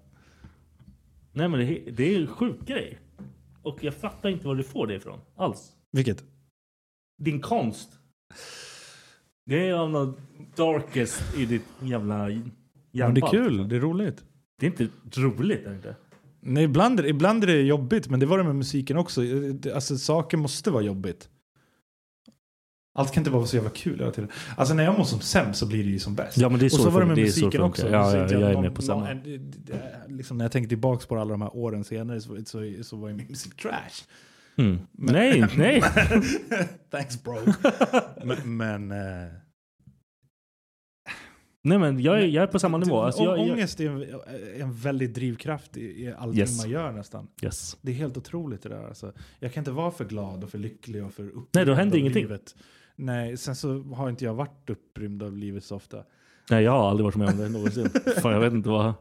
Nej, men det, det är ju en sjuk grej. Och jag fattar inte var du får det ifrån. Alls.
Vilket?
Din konst. Det är av något darkest i ditt jävla hjärnband.
Men det är kul, det är roligt.
Det är inte roligt. Är det inte?
Nej, ibland, ibland är det jobbigt, men det var det med musiken också. Det- Alltså, saker måste vara jobbigt. Allt kan inte bara vara så jävla kul hela tiden. Alltså när jag mår som sämst så blir det ju som bäst.
Ja, men det är
och
så
så var det
det-
med
det är så det
musiken
funkar.
också.
Ja,
Så
ja,
tänkte
jag är
någon-
med på samma.
någon- det- det- Liksom, när jag tänkte tillbaks på alla de här åren senare så, så, så var ju min musik trash.
Mm. Nej, nej.
Thanks bro. men... men eh,
nej men jag, är- jag är på samma nivå. Alltså,
Å-
jag, jag,
ångest är en, en väldig drivkraft i, i allting
Yes.
man gör nästan.
yes.
Det är helt otroligt det där. Alltså, jag kan inte vara för glad och för lycklig och för upprymd
Nej, då händer
av
ingenting.
Livet. Nej, sen så har inte jag varit upprymd av livet så ofta.
Nej, jag har aldrig varit med om det någonsin. Fan, jag vet inte vad...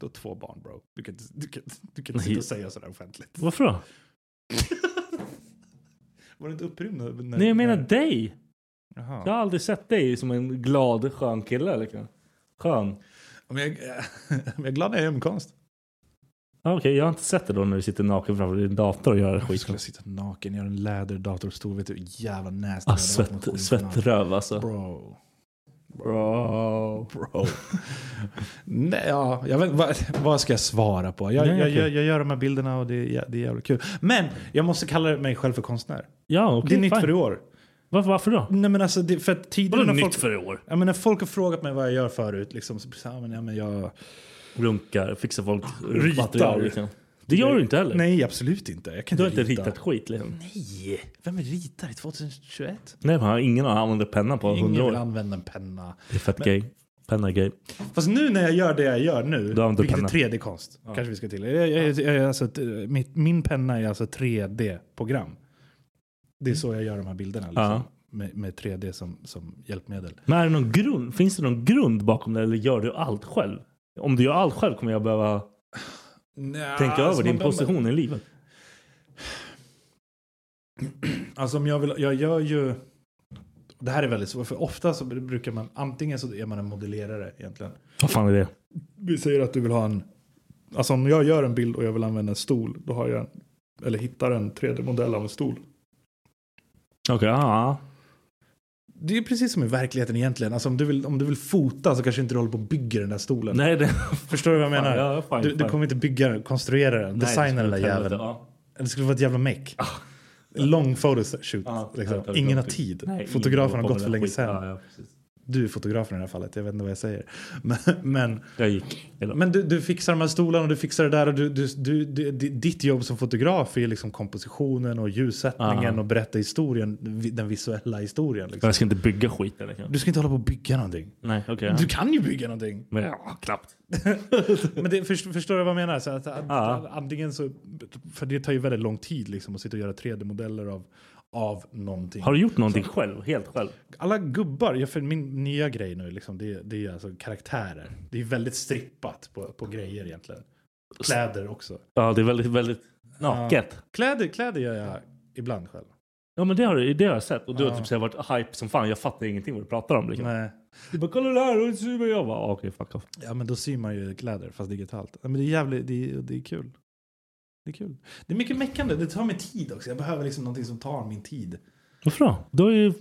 Då två barn bro. Du kan, inte- du kan, du kan inte sitta och säga sådär offentligt.
Varför då?
Var du inte upprymd? När,
Nej, jag menar
när-
dig.
Jaha.
Jag har aldrig sett dig som en glad, skön kille. Liksom. Skön.
Men jag, jag är glad när jag gör min konst.
Ja, Okej, jag har inte sett det då när du sitter naken framför din dator och gör
Jag
skit.
skulle sitta naken, göra en läderdatorstol. Vet du hur typ jävla nasty
Ah,
det hade varit om jag kom
svett,
in
svettröv alltså.
Bro.
Bro.
Bro. Nej, ja, jag vet, vad, vad ska jag svara på? Jag,
Nej,
jag,
okej.
jag, jag gör de här bilderna och det, är jä- det är jävligt kul. Men jag måste kalla mig själv för konstnär.
Ja, okej.
Det är nytt
fine.
för i år.
Varför, varför då?
Nej men alltså, det, för att tidigare
Vadå
när
nytt
folk,
för i år?
ja, men när folk har frågat mig vad jag gör förut, liksom, så, så, ja, men, ja, men jag...
Runkar, fixar folk
Ah, Ritar.
material, liksom. Det gör du inte heller.
Nej, absolut inte. Jag kan
Du har
inte
inte
rita.
ritat skit liksom.
Nej, vem ritar i 2021?
Nej, man har ingen har använt penna på hundra
Ingen vill
år.
använda en penna.
Det är fett gay. Penna är gay.
Fast nu när jag gör det jag gör nu,
Du använder
vilket
penna.
är 3D-konst, kanske vi ska till. Jag, jag, jag, jag, alltså, ett, eh, mitt, min penna är alltså 3D-program. Det är så jag gör de här bilderna. Liksom.
Ja.
med, med 3D som, som hjälpmedel.
Men är det någon grund, finns det någon grund bakom det eller gör du allt själv? Om du gör allt själv kommer jag behöva
Nja,
tänka
alltså,
över din
man-
position i livet.
Alltså om jag vill, jag gör ju... Det här är väldigt svårt, för ofta så brukar man, antingen så är man en modellerare egentligen.
Vad fan är det?
Vi säger att du vill ha en... Alltså om jag gör en bild och jag vill använda en stol, då har jag en, eller hittar en 3D-modell av en stol.
Okej, ja.
Det är ju precis som i verkligheten egentligen. Alltså om du vill, om du vill fota så kanske inte du håller på och bygger den där stolen.
Nej, det...
Förstår du vad jag menar?
Ja, fine,
du, du
fine.
kommer inte bygga, konstruera den,
Nej,
designa den där
skulle helvete,
jäveln.
ja.
Det skulle vara ett jävla meck. Lång photoshoot.
Ja,
liksom.
det tar
Ingen
lång
har
tid.
tid.
Nej, ingen
Fotografen har
håller på med
gått för
den
länge
skiten. Ja,
sedan.
ja, precis.
Du är fotografen i det här fallet, jag vet inte vad jag säger. Men, men,
jag gick. Eller,
men du, du fixar de här stolarna och du fixar det där. Och du, du, du, du, ditt jobb som fotograf är liksom kompositionen och ljussättningen
Aha.
och berätta historien, vi- den visuella historien. Liksom.
jag ska inte bygga skiten. Liksom.
Du ska inte hålla på och bygga någonting.
Nej, okej. ja.
Du kan ju bygga någonting.
Men ja, knappt.
Men det, först, förstår du vad jag menar? Så att, att,
Ja.
Antingen så, för det tar ju väldigt lång tid liksom, att sitta och göra 3D-modeller av, av någonting.
Har du gjort någonting själv? Helt själv?
Alla gubbar, jag, för min nya grej nu, liksom, det, är- det är alltså karaktärer. Det är väldigt strippat på, på grejer egentligen. Kläder också.
Ja, det är väldigt, väldigt naket.
Kläder, kläder gör jag ibland själv.
Ja, men det har, du- det har jag sett. Och du
Ja.
har typ så här varit hype som fan. Jag fattar ingenting vad du pratar om. Liksom.
Nej.
Du bara, kolla det här. Och så jag bara, ah, okej, fuck off.
Ja men då syr man ju kläder fast digitalt. Ja, Men det är jävligt, det är, det är kul. Det är kul. Det är mycket meckande, det tar mig tid också. Jag behöver liksom någonting som tar min tid.
Varför då? Du har ju...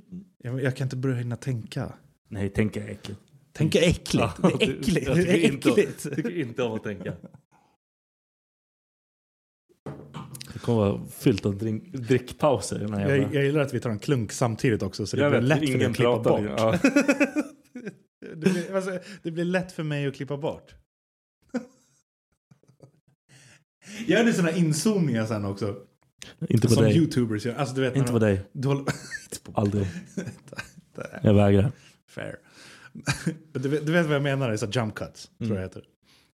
Jag, jag kan inte börja hinna tänka.
Nej, tänka är äckligt.
Tänka äckligt. Det är
Mm.
äckligt.
Jag
Det är
tycker inte-
äckligt.
Jag tycker inte om att tänka. Det kommer vara fyllt av drink, drickpauser. i Den här
Jag,
jävla-
jag gillar att vi tar en klunk samtidigt också så det
Jag
blir
vet,
lätt för dig att klippa bort.
Ja.
det, blir, alltså, det blir lätt för mig att klippa bort. Jag Gör du sådana inzoomningar sen också?
Inte på
Som
dig.
youtubers gör. Alltså, du vet, när
Inte
de-
på dig.
Du håller... Inte på mig.
Aldrig.
Där.
Jag vägrar.
Fair. Men du, vet, du vet vad jag menar? Det är så här jump cuts, tror jag heter.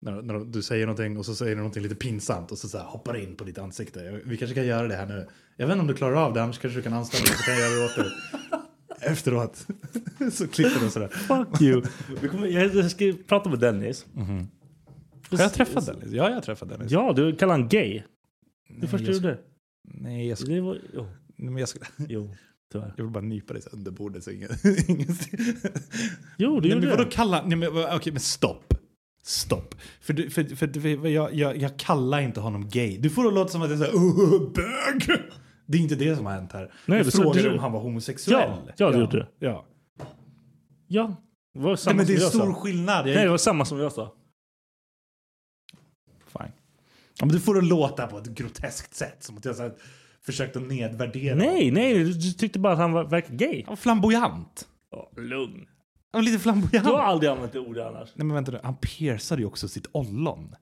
När, när du säger någonting och så säger du någonting lite pinsamt och så, så här hoppar det in på ditt ansikte. Jag- Vi kanske kan göra det här nu. Jag vet inte om du klarar av det, annars kanske du kan anställa mig så kan jag göra det åt dig. Efteråt så klipper du sådär.
Fuck you. Vi kommer, jag jag ska prata med Dennis.
Har jag träffat Dennis? Ja, jag har träffat Dennis.
Ja, du kallar han gay. Du förstår
jag
du det?
Nej, jag,
det var, jo,
men jag, skulle,
jo, tyvärr.
jag vill bara nypa dig så under bordet så ingen... ingen
Jo, du
Nej, men
gjorde
vadå
det.
kalla? Nej, men, vad- okej, men stopp. Stopp. För, du, för, för, för jag, jag, jag kallar inte honom gay. Du får det låta som att jag säger uh, bög. Det är inte det som har hänt här.
Nej,
jag
du sa-
frågade
du-
om han var homosexuell.
Ja, ja, du gjorde det.
Ja.
Ja. Det var samma
Nej, men det är
som jag
stor
sa.
skillnad. Jag,
Nej, det var samma som jag sa.
Fine. Ja, men du får det låta på ett groteskt sätt. Som att jag så här, försökt att nedvärdera
Nej, nej, du- du tyckte bara att han var, verkar gay.
Han var flamboyant.
Ja, lugn.
Han var lite flamboyant.
Du har aldrig använt det ordet annars.
Nej men vänta nu, han piercade ju också sitt ollon.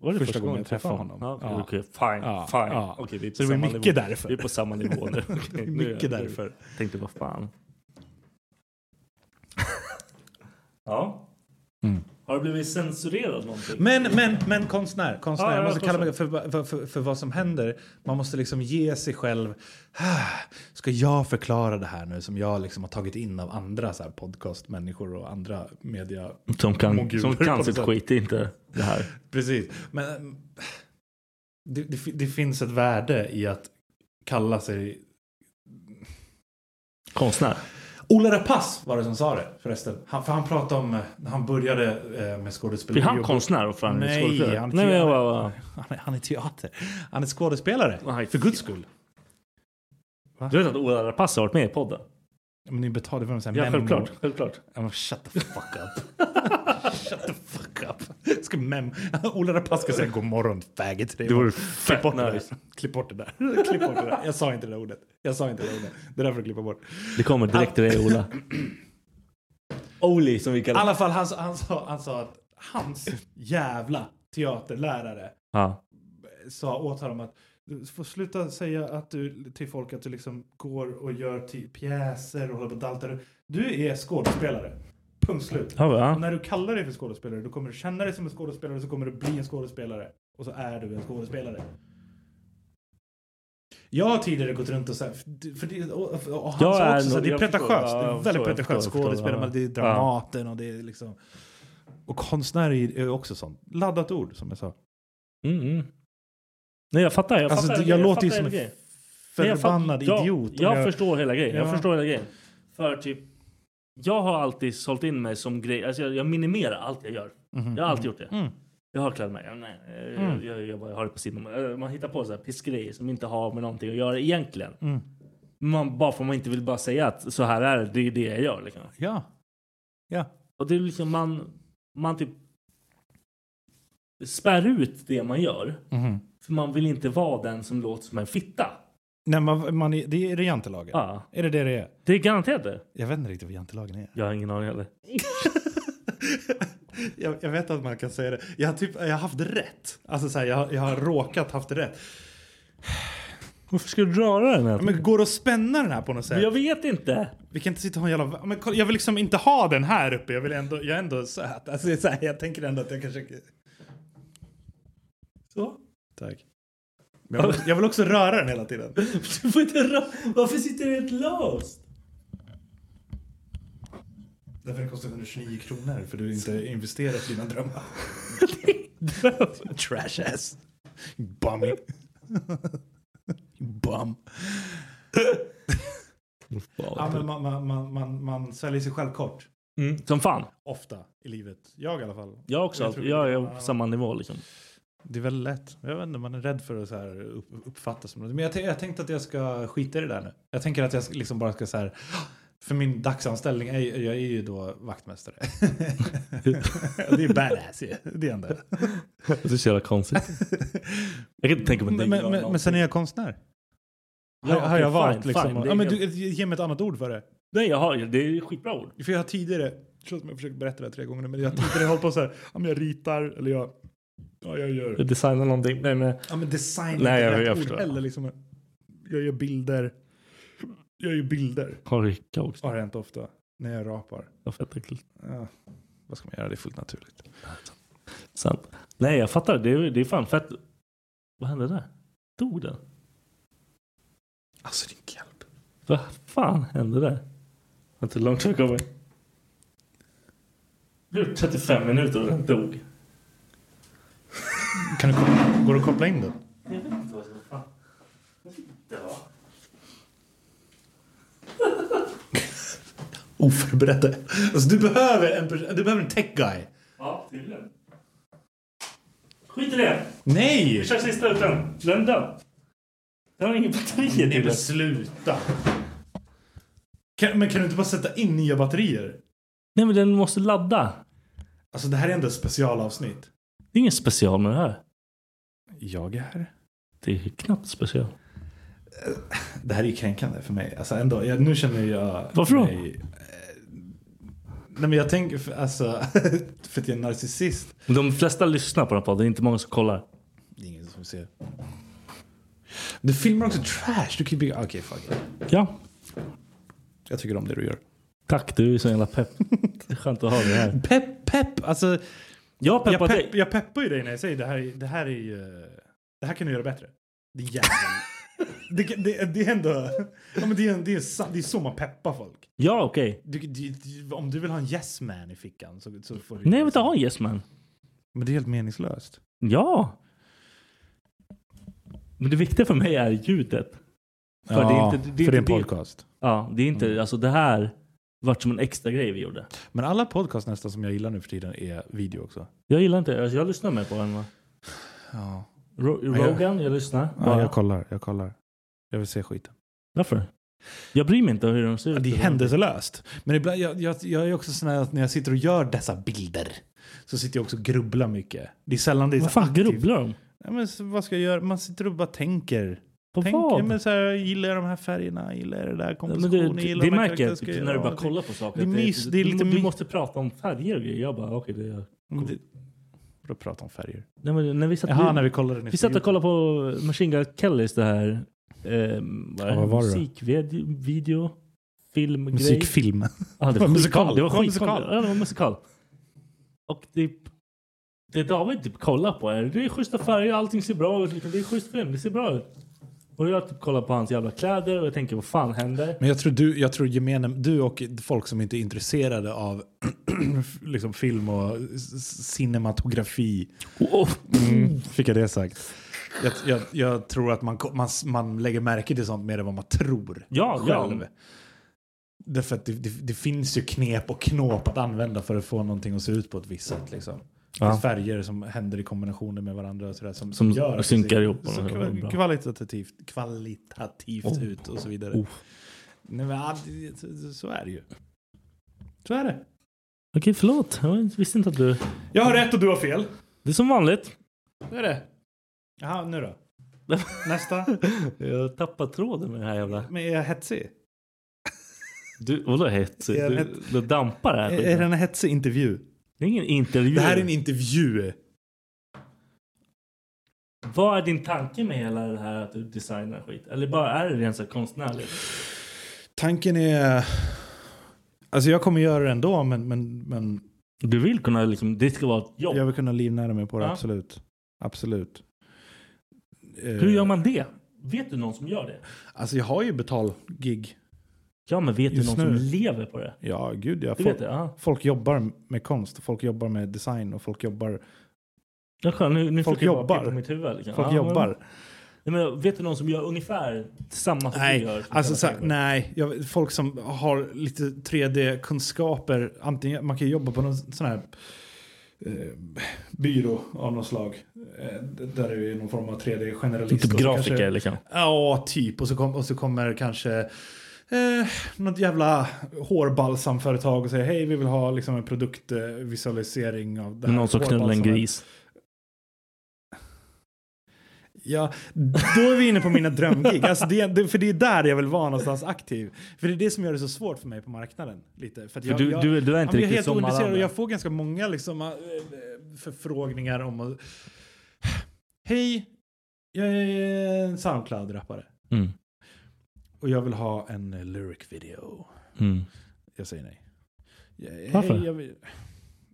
Var det
Första gången jag träffade honom.
Ja, okej,
Ja.
okej, fine.
Ja,
fine.
ja.
Okej, vi är på
Så det var
samma
mycket
nivå.
därför.
Vi är på samma nivå nu. Okej, nu är jag-
Mycket därför.
Tänkte vad fan. ja. Mm. Har du blivit censurerad någonting?
Men, men, men konstnär, konstnär.
Ja,
jag
ja,
måste kalla mig för,
konstnär.
för, för, för vad som händer. Man måste liksom ge sig själv. "Ah, Ska jag förklara det här nu som jag liksom har tagit in av andra så här podcastmänniskor och andra media?
Som kan,
Moguler
som
på
kan
något
sitt
sätt.
skit, det är inte det här.
Precis. Men mm, det, det, fi- det finns ett värde i att kalla sig...
Konstnär.
Ola Rapace var det som sa det förresten. Han, för han pratade om eh, när han började eh, med skådespeleri.
Blir han
och-
konstnär och fan
Nej,
skådespelare?
han-
Nej, men jag bara...
Han är, han är teater. Han är skådespelare.
Nej,
För guds skull.
Du vet att Ola Rapace har varit med i podden?
Men ni betalade för en sån här
Ja,
memo.
självklart. självklart.
Ja, men shut the fuck up. shut the fuck up. Ska mem... Ola Rapace ska säga god morgon faggot. Det
vore
Klipp
fett
bort det
nice.
där. Klipp bort det där. Klipp bort det där. Jag sa inte det där ordet. Jag sa inte det där ordet. Det där får du klippa bort.
Det kommer direkt till dig, Ola. Oli, som vi
I
kallar
alla fall, han, sa- han, sa, han sa att hans jävla teaterlärare
ja.
sa åt honom att du får sluta säga att du, till folk att du liksom går och gör ty- pjäser och håller på och daltar. Du är skådespelare. Punkt slut.
Ja, va?
Och när du kallar dig för skådespelare, då kommer du känna dig som en skådespelare och så kommer du bli en skådespelare. Och så är du en skådespelare. Jag har tidigare gått runt och så här, för det, och, och, och han
Jag
sa
är
också så här,
nog-
det är
jag
pretentiöst.
förstår. Ja,
Det
jag förstår, jag
är väldigt pretentiöst
förstår, jag förstår.
skådespel, men det är Dramaten och det är liksom... Och konstnär är är också sånt. Laddat ord, som jag sa.
Mm, mm. Nej jag fattar. Jag,
Alltså,
fattar,
det- jag låter
fattar
ju som
hela
en
grejen. Nej, jag fattar-
Förbannad
ja,
idiot. Mm-hmm. om
Jag, förstår hela grejen.
Ja.
Jag förstår hela grejen. För typ, jag har alltid sålt in mig som grej. Alltså jag, jag minimerar allt jag gör.
Mhm,
Jag har alltid gjort det.
Mm.
Jag har klätt mig. Jag, nej, eh, jag,
Mm.
jag, jag, bara har det på sidan. Eh, Man hittar på så här pissgrejer som inte har med någonting att göra egentligen.
Mm.
Man, bara för man inte vill bara säga att så här är det, det är det jag gör. Liksom.
Ja.
Och det är liksom man, man typ spär ut det man gör.
Mhm.
För man vill inte vara den som låter som en fitta.
Nej, man, man är, det är det jantelagen.
Ja,
Är det det det är?
det är garanterat det.
Jag vet inte riktigt vad jantelagen är.
Jag har ingen aning heller.
jag, jag vet att man kan säga det. Jag har, typ, jag har haft rätt. Alltså så här, jag, har, jag har råkat haft rätt.
Varför ska du röra den här?
Men går det att spänna den här på något sätt?
Jag vet inte.
Vi kan inte sitta och ha en jävla... Men kolla, jag vill liksom inte ha den här uppe. Jag vill ändå... Jag är ändå söt. Alltså, det är så här, jag tänker ändå att jag kanske... Så. Tack. Men jag, vill, jag vill också röra den hela tiden.
Du får inte rö- Varför sitter det helt löst?
Därför det kostar 129 kronor. För du inte investerat i dina drömmar. Trash ass. Bummy. Bum. Ja, men man, man, man, man, man säljer sig själv kort.
Mm, som fan.
Ofta i livet. Jag i alla fall.
Jag också.
Jag
Jag,
tror-
jag är på samma nivå liksom.
Det är väldigt lätt. Jag vet inte, man är rädd för att så här upp, uppfattas som något. Men jag, tän- jag tänkte att jag ska skita i det där nu. Jag tänker att jag ska- liksom bara ska så här... För min dagsanställning, är, ju- jag är ju då vaktmästare. Och det är badass ju. Det är ändå.
Det är så jävla konstigt. Jag kan inte tänka mig
Men, men, men, men sen är jag konstnär.
Ja,
har, har jag
okej,
valt
fine,
liksom.
fine. Det är
ja, men
helt-
du, ge mig ett annat ord för det.
Nej, jag har, det är skitbra ord.
För jag har tidigare, förlåt om jag försöker berätta det här tre gånger nu, men jag har tidigare hållit på så här, ja, men jag ritar eller jag, ja, jag gör.
Jag designar någonting. Nej, men,
Ja men design är
Nej,
inte
jag-
rätt
jag
ord
förstår.
heller liksom. Jag gör bilder. Jag gör bilder.
har rycka också.
Har hänt ofta. När jag rapar.
Jag fattar inte.
Ja. Vad ska man göra? Det är fullt naturligt.
Sant. Nej, jag fattar. Det är, det är fan fett. Vad hände där? Dog den?
Alltså din hjälp.
Vad fan hände där? Vänta, hur långt har vi kommit? Det blev 35 minuter och den dog.
Kan du, kom- går det att koppla in den?
Jag vet inte vad som fan. Den var.
Oförberedd. Alltså du behöver en, pers- du behöver en tech guy.
Ja, tydligen. Skit i det!
Nej!
Vi kör sista ut den. Den dör. Den har ingen batteri
Nej
till
men
den.
sluta. Kan, men kan du inte bara sätta in nya batterier?
Nej men den måste ladda.
Alltså det här är ändå ett specialavsnitt.
Det är ingen special med det här.
Jag är här.
Det är knappt special.
Det här är ju kränkande för mig. Alltså ändå, jag, nu känner jag
Varför då?
mig... eh, Nej men jag tänker, för, alltså, för att jag är narcissist.
De flesta lyssnar på den här podden, det är inte många som kollar.
Det är ingen som ser. Du filmar också trash. Du kan ju bygga... Okej, fuck it.
Ja,
Jag tycker om det du gör.
tack. Du är så jävla pepp. Det är skönt att ha dig här.
Pepp, pepp! Alltså,
Jag peppar
jag,
dig.
pepp, jag peppar ju dig när jag säger det här, är- det här är ju... Det här kan du göra bättre. Det är jävla... det, kan- det, det är ändå... Ja, men det, är, det, är, sa- det är så man peppar folk.
Ja, okej.
Du, du, du, om du vill ha en yes man i fickan så, så får du...
Nej, jag vill inte ha en yes man.
Men det är helt meningslöst.
Ja. Men det viktiga för mig är ljudet. För det är inte- det är
för det är en
inte det.
podcast.
Ja, det är
Mm.
inte, alltså det här vart som en extra grej vi gjorde.
Men alla podcast nästan som jag gillar nu för tiden är video också.
Jag gillar inte, alltså jag lyssnar mer på den va?
Ja.
Ro-
jag-
Rogan, jag lyssnar.
Ja,
bara.
jag kollar, jag kollar. Jag vill se skiten.
Varför? Jag bryr mig inte hur de ser ut.
det är händelselöst. Men ibland, jag, jag, jag är också sån här att när jag sitter och gör dessa bilder så sitter jag också och grubblar mycket. Det är sällan det är
Vad
så
fan
aktivt.
grubblar de?
Ja, men så vad ska jag göra? Man sitter och bara tänker.
På
Tänk,
vad?
ja, men så här, gillar jag de här färgerna? Gillar jag det där
Ja, men det,
kompositionen?
det,
gillar
det
de här
märker jag
karaktärerna?
typ,
Ska
när du
jag
bara
göra
kollar på saker.
Det är
att
mys- det är lite
du,
mys-
du måste prata om färger och grejer. Jag bara, okej det är...
någonting? Men det- Vadå prata om färger?
Nej, men när vi satt,
Jaha,
vi,
när vi kollade den
vi satt och kollade på Machine Gun Kellys det här... Eh, vad är
Ja, vad var det då?
Musikvideo, video, filmgrej.
Musikfilm.
Ja, det var
var musikal.
skitkonstigt. Det var
Det var
skitkonstigt.
musikal.
Ja, det var musikal. Och typ... Det David typ kollar på är, det är schyssta färger, allting ser bra ut. Liksom. Det är schysst film, det ser bra ut. Och jag typ kollar på hans jävla kläder och jag tänker vad fan händer?
Men jag tror du, jag tror gemene, du och folk som inte är intresserade av liksom film och s- cinematografi. Mm, fick jag det sagt. Jag, jag, jag tror att man, ko- man, s- man lägger märke till sånt mer än vad man tror
Ja, ja.
själv. Därför att det, det, det finns ju knep och knåp att använda för att få någonting att se ut på ett visst sätt. Liksom. Det
Ja.
finns färger som händer i kombinationer med varandra och sådär, som,
Som
gör att det
synkar
ser-
ihop på
så
något
kva-
bra.
kvalitativt, kvalitativt
Oh.
ut och så vidare.
Oh.
Nej, men, ja, det- så- så är det ju. Så är det.
Okej, förlåt. Jag visste inte att du...
Jag har rätt och du har fel.
Det är som vanligt.
Så är det. Jaha, nu då? Nästa.
Jag tappar tråden med det här jävla...
Men är jag hetsig?
Du, vadå hetsig?
Jag
Du,
vet-
du dampar här.
Är, är det en hetsig intervju?
Det är ingen intervju.
Det här är en intervju.
Vad är din tanke med hela det här att du designar skit? Eller bara är det rent så här konstnärligt?
Tanken är... Alltså jag kommer göra det ändå, men, men, men
Du vill kunna liksom, det ska vara ett jobb.
jag vill kunna livnära mig på det.
Ja.
Absolut. Absolut. Eh,
Hur gör man det? Vet du någon som gör det?
Alltså jag har ju betalgig.
Ja, men vet du
Just
någon
nu.
som lever på det?
Ja, gud jag
Du
folk,
vet det? Ja.
folk jobbar med konst, och folk jobbar med design och folk jobbar.
Jag kan, nu, nu
Folk
fick jag bara
jobbar.
peka på mitt huvud. Liksom.
Folk
Ja,
jobbar.
Men, nej, men, vet du någon som gör ungefär samma som du gör? Typ
Nej,
Som
alltså,
tjänar
så här,
pengar på det?
nej jag, folk som har lite 3D-kunskaper. Antingen, man kan ju jobba på någon sån här eh, byrå av något slag. Eh, d- där du är någon form av 3D-generalist.
Typ
Och så
grafiker
kanske-
liksom.
Ja, typ. Och så, kom, och så kommer kanske eh, något jävla hårbalsamföretag och säger hej, vi vill ha liksom, en produktvisualisering av det här
Någon som knullar en
hårbalsamet."
gris.
Ja, då är vi inne på mina drömgig. Alltså det, det, för det är där jag vill vara någonstans aktiv. För det är det som gör det så svårt för mig på marknaden. Lite. För att
För
jag,
du,
jag,
du, du är
ja,
inte
men jag
riktigt
är helt
som alla
ointresserad och
andra.
jag får ganska många liksom, äh, förfrågningar om att... Hej, jag är en Soundcloud-rappare.
Mm.
Och jag vill ha en eh, lyric video.
Mm.
Jag säger nej. Jag,
Varför?
Hej, jag vill,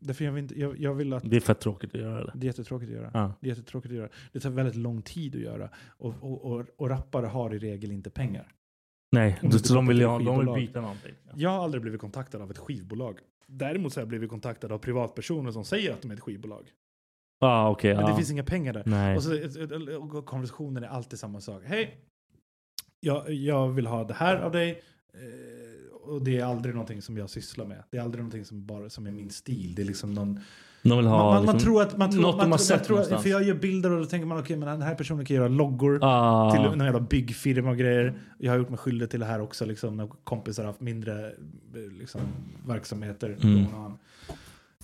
därför jag vill, inte, jag, jag vill att...
Det är fett tråkigt att göra det.
Det är jättetråkigt att göra.
Ja.
Det är jättetråkigt att göra. Det tar väldigt lång tid att göra. Och, och, och, och rappare har i regel inte pengar.
Nej,
Om
du,
du
så de,
går
vill,
till
ha, de vill
skivbolag.
byta någonting.
Jag har aldrig blivit kontaktad av ett skivbolag. Däremot så har jag blivit kontaktad av privatpersoner som säger att de är ett skivbolag.
Ah, okej,
Men det
ja.
finns inga pengar där.
Nej.
Och, så, och konversationen är alltid samma sak. Hej, jag, jag vill ha det här av dig. Eh, Och det är aldrig någonting som jag sysslar med. Det är aldrig någonting som, bara, som är min stil. Det är liksom någon,
De vill ha...
man,
liksom,
man, man tror att... Man tror,
något de
man,
har
tror-
sett
man tror, att-
någonstans.
För jag gör bilder och då tänker man okej, men den här personen kan göra loggor.
Ah.
till någon jävla byggfirma och grejer. Jag har gjort mig skyldig till det här också, liksom, när kompisar har haft mindre eh, liksom, verksamheter.
Mm.
Någon annan.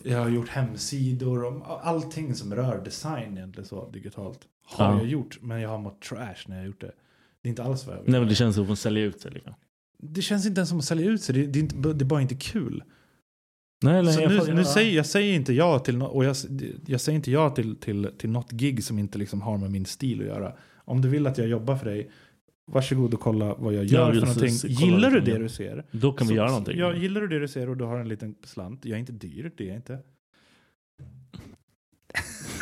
Jag har gjort hemsidor, och allting som rör design egentligen så digitalt har
Ja.
jag gjort, men jag har mått trash när jag har gjort det. Det är inte alls vad jag vill.
Nej men det känns som att de säljer ut sig. Liksom.
Det känns inte ens som att sälja ut sig, det, det, är, inte, det är bara inte kul.
Nej, nej,
Så
jag
nu,
fattar.
nu säger, jag säger inte ja till, nå- och jag, s- jag säger inte ja till, till, till något gig som inte liksom har med min stil att göra. Om du vill att jag jobbar för dig, varsågod och kolla vad jag gör
just det,
för någonting.
se- kolla
gillar du
vad
det
jag-
du ser?
Då kan vi
så-
göra
så-
någonting.
Ja, gillar du det du ser och du har en liten slant. Jag är inte dyr, det är jag inte.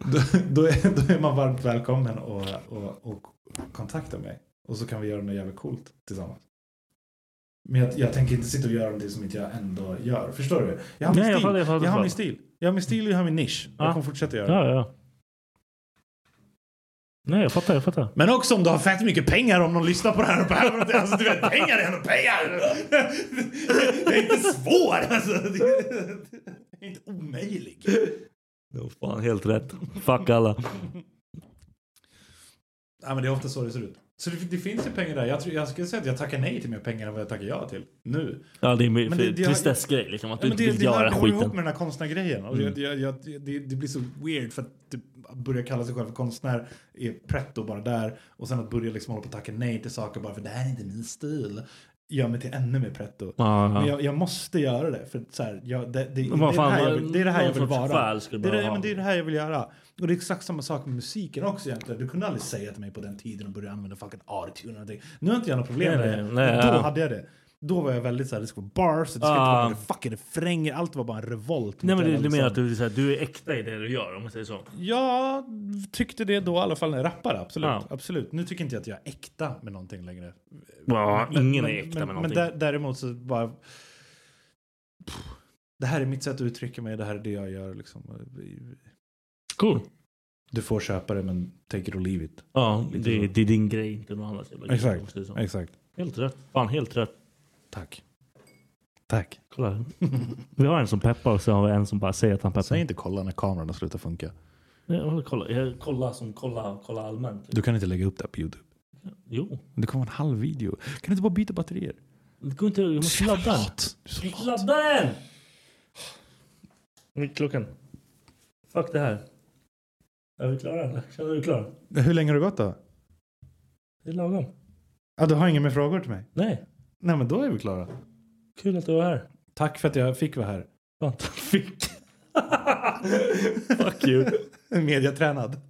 då, då, är, då är man varmt välkommen och, och, och kontakta mig. Och så kan vi göra något jävligt coolt tillsammans. Men jag, jag tänker inte sitta och göra någonting som inte jag ändå gör. Förstår du? Jag har min
Nej, jag
stil.
fattar, jag fattar,
jag har
fattar.
min stil. Jag har min stil och jag har min nisch.
Ja.
Jag kommer fortsätta göra det.
Ja, ja. Nej, jag fattar, jag fattar.
Men också om du har fett mycket pengar om någon lyssnar på det här. Och bara, alltså, du vet, pengar är ändå pengar! Det är inte svårt! Alltså. Det är inte omöjligt.
Jo, fan, helt rätt. Fuck alla.
Ja, men det är ofta så det ser ut. Så det, det finns ju pengar där. Jag, tror, jag skulle säga att jag tackar nej till mer pengar än vad jag tackar ja till. Nu.
Ja, det är
Men
en
det- det-
tristessgrej liksom. Att du
Ja, men
inte
det
vill
det, här-
göra
det går ihop
skiten.
med den här konstnärgrejen. Och jag, jag, jag, det, det blir så weird för att typ, att börja kalla sig själv för konstnär är pretto bara där. Och sen att börja liksom hålla på och tacka nej till saker bara för det här är inte min stil. Gör mig till ännu mer pretto.
Ja, ja.
Men jag, jag måste göra det. För att så här, jag, det, det, det,
Men vad
är det,
fan,
här jag vill, det är det här
någon
jag vill
sorts
vara.
själ skulle
Det är, det,
behöva
ja,
ha.
men det är det här jag vill göra. Och det är exakt samma sak med musiken också egentligen. Du kunde aldrig säga till mig på den tiden att börja använda fucking autotune eller någonting. Nu har inte jag några
Nej,
problem med det.
nej, nej,
Men då
ja.
hade jag det. Då var jag väldigt såhär, det ska vara bars, det ska inte
Ah.
vara några fucking refränger, allt var bara en revolt.
Nej
mot
men du,
hela,
du menar
liksom.
att du, är så här, du är äkta i det du gör om man säger så?
Jag tyckte det då i alla fall när jag rappade, absolut.
Ja.
absolut. Nu tycker inte jag att jag är äkta med någonting längre.
Ja, ingen
men,
är äkta
men,
med någonting.
Men dä- däremot så bara... Pff, Det här är mitt sätt att uttrycka mig, det här är det jag gör liksom.
Cool.
Du får köpa det men take it or leave it.
Ja,
Lite
det,
så.
det är din grej, inte någon annans jävla grej, om man
Exakt,
säger så.
exakt.
Helt rätt. Fan, helt rätt.
Tack. Tack.
Kolla. här. Vi har en som peppar och så har vi en som bara säger att han peppar.
Säg inte kolla när kameran har slutat funka.
Ja, kolla. Jag kolla som kolla, kolla allmänt.
Du kan inte lägga upp det här på YouTube.
Jo.
Det kommer en halv video. Kan du inte bara byta batterier?
Det går inte. Jag måste ladda den.
Du är så lat.
Ladda den! Nu är klockan. Fuck det här. Är vi klara eller? Känner du dig klar?
Hur länge har det gått då?
Det är lagom.
Ja, du har inga mer frågor till mig?
Nej.
Nej men då är vi klara.
Kul att du var här.
Tack för att jag fick vara här.
Fan, tack fick.
Fuck you. Mediatränad.